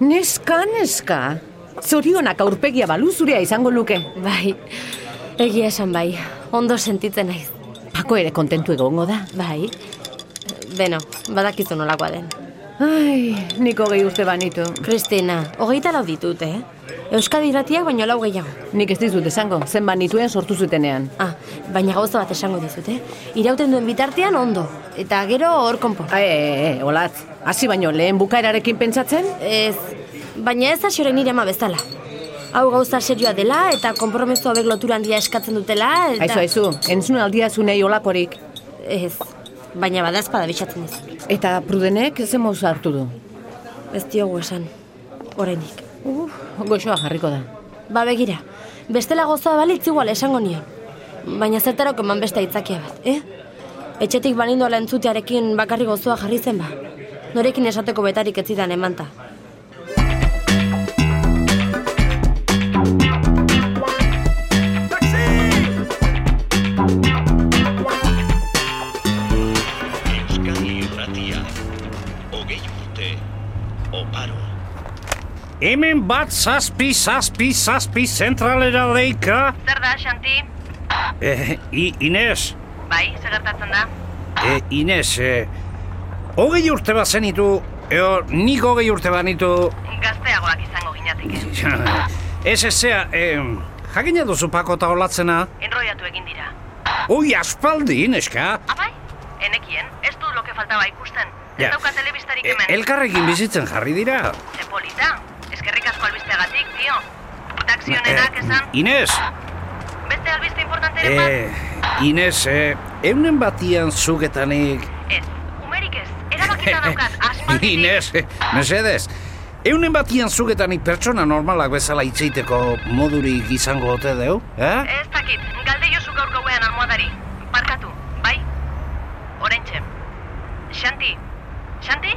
Neska, neska. Zorionak aurpegia balu zurea izango luke. Bai, egia esan bai, ondo sentitzen naiz. Pako ere kontentu egongo da. Bai, beno, badakizu nolakoa den. Ai, niko gehi urte banitu. Kristina, hogeita lau ditut, eh? Euskadi irratiak baino lau gehiago. Nik ez dizut esango, zen banituen sortu zutenean. Ah, baina gauza bat esango dizut, eh? Irauten duen bitartean ondo, eta gero hor konpo. Ai, e, e, olatz, hasi baino lehen bukaerarekin pentsatzen? Ez, baina ez hasi orain nire ama bezala. Hau gauza serioa dela eta konpromiso hauek lotura handia eskatzen dutela eta... Aizu, aizu, entzun aldia zunei olakorik. Ez, baina badazpada bitxatzen ez. Eta prudenek zen moz hartu du. Ez diogu esan, oraindik. Uf, goxoa jarriko da. Ba begira, bestela gozoa balitz igual esango nion. Baina zertarako eman beste aitzakia bat, eh? Etxetik banindoala entzutearekin bakarri gozoa jarri zen ba. Norekin esateko betarik ez zidan emanta. Euskadi irratia, hogei urte, oparo. Hemen bat zazpi, zazpi, zazpi zentralera deika. Zer da, Xanti? Eh, I, Ines, Bai, zer gertatzen da? eh, Ines, eh, hogei urte bat zenitu, eo, nik hogei urte bat nitu. Gazteagoak izango ginateke. Ez ez zea, eh, jakina duzu pako eta olatzena. Enroiatu egin dira. Oi, aspaldi, Ineska. Abai? Enekien, ez du loke faltaba ikusten. Ez Ja. dauka telebistarik Eh, hemen. elkarrekin bizitzen jarri dira. Ze polita. Eskerrik asko albisteagatik, tio. Takzionenak Eh, esan, Ines, beste albiste importanteren bat? eh, Ines, eh, eunen batian zuketanik Ez, umerik ez. Erabakita daukat, asmalditik. Inez, eh, mesedez. Eunen batian zugetan pertsona normalak bezala itzeiteko modurik izango ote deu, eh? Ez dakit, galde jozu gaur gauean almohadari. Barkatu, bai? Orentxe. Xanti. Xanti?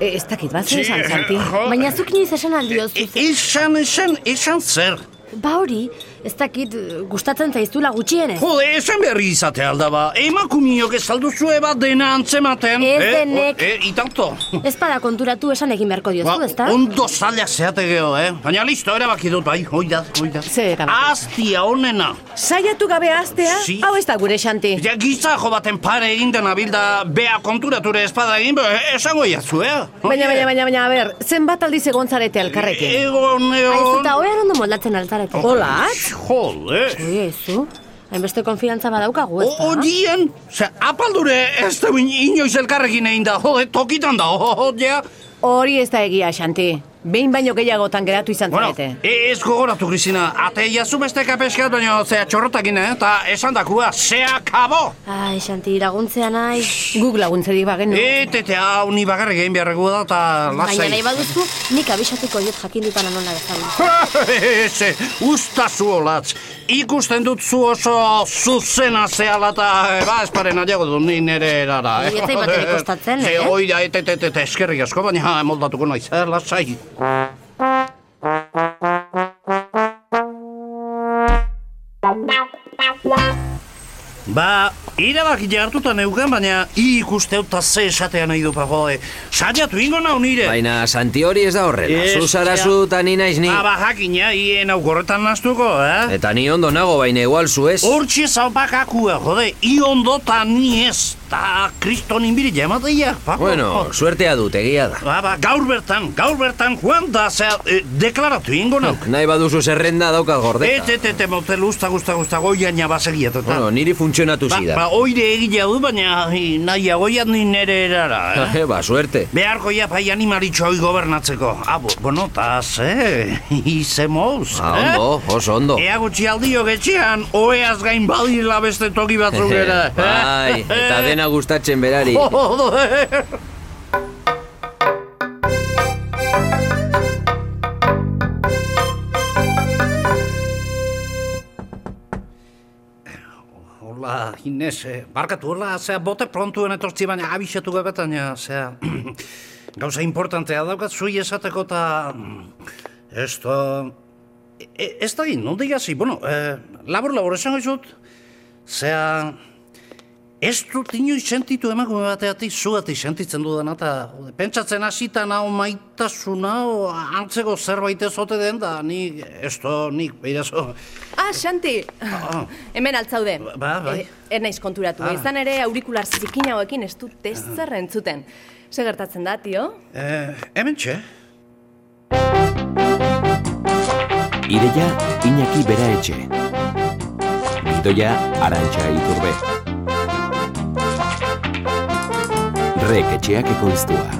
E, ez dakit bat zen esan, Santi. Baina zuk inoiz esan aldiozu. E, esan, esan, esan zer. Ba hori, ez dakit eh, gustatzen zaizula gutxienez. Jode, esan berri izate aldaba. Emakumiok ez alduzue bat dena antzematen. Ez eh? denek. O- Eh, itanto. Ez bada konturatu esan egin beharko diozu, Ba, ezta? ondo zaila zeate geho, eh? Baina listo, erabaki dut, bai, hoi da, hoi da. Zer erabaki? Aztia onena. Saiatu gabe aztea, Si. hau ez da gure Xanti. Eh. Ja, gizajo baten pare egin dena bilda, bea konturature espada egin, eh, esango jazu, eh? Baina, baina, baina, baina, a ber, zenbat aldiz egon zarete Eh, elkarrekin? Egon, egon... Aizuta hoean ondo moldatzen altareko. Hola, Jode! Ezu, hainbeste konfiantza badaukagu, ez da? Horien, ze, apaldure ez da bin inoiz elkarrekin egin da, jode, tokitan da, Oh, jodea. hori ez da egia, Xanti. Behin baino gehiagotan geratu izan Bueno, zarete. e- ez gogoratu, Kristina, ate jazu beste kapeskat, baina zea txorrotakin, eh, eta esan dakua, zea kabo! Ai, Xanti, laguntzea nahi. Guk laguntzerik bagenu. Eh, Etete, E, hau ni bagarrik egin beharreko da, eta Baina lasai. nahi baduzu, nik abisatuko diot jakin dutan anola bezala. Eze, usta zu olatz. Ikusten dut zu oso zuzena zehala eta eh, ba, esparen adiago du ni nere erara. Ni Bai, ez zait batere kostatzen, eh? eh? Ze, Hoi da, ete, ete, ete, eskerrik asko, baina moldatuko naiz, eh, lasai. Ba, irabak jartuta neuken, baina ikusteuta ze esatea nahi du pago, eh? Saiatu ingo nau nire. Baina Santi hori ez da horrela. Ez, Zu zara ja. zu eta ni naiz ni. Ba, ba, jakina, hien hau gorretan naztuko, eh? Eta ni ondo nago, baina igual zu ez. Hortxe zaupakakua, jode, i ondo ta ni ez, ta kriston inbiri jamateia, pako. Bueno, suertea dut, egia da. Ba, ba, gaur bertan, gaur bertan joan da, zea, eh, deklaratu ingo E, nauk. Nahi baduzu zerrenda daukat Et, gordeta. et, et, motel usta, usta, usta, goian jabazegiatetan. Bueno, niri funtzionatu ba, ba, zidan. oire egilea du, baina hi, nahi agoian ni nere erara, eh? Eh, ba, suerte. Beharko ja pai animaritxo hoi gobernatzeko. Abo, bueno, ta ze, izemoz, Ba, eh? ondo, oso ondo. Ea gutxi aldio getxean, oeaz gain badila beste toki batzuk era. Bai, eta dena gustatzen berari. Jode. Hola, Inez, eh, barkatu, hola, zea, bote prontuen etortzi baina abixetu gabetan, ja, zea, gauza importantea daukat zui esateko eta... Esto... mm, e, ez da gin, nondik hasi, bueno, e, labur labur esango izut, zea, ez dut inoiz sentitu emakume bateatik zuatik sentitzen dudan, eta pentsatzen hasita nao maitasuna, o, antzeko zerbait ez ote den, da nik, ez do, nik, behirazo, Ah, Xanti! ah. Hemen altzaude. Ba, bai. Eh, Ez naiz konturatu. Ah. Izan ere, aurikular zikinagoekin ez dut ezer entzuten. Ze gertatzen da, tio? e, hemen txe, Ireia Iñaki Bera Etxe. Bidoia Arantxa Iturbe. Rek etxeak ekoiztua.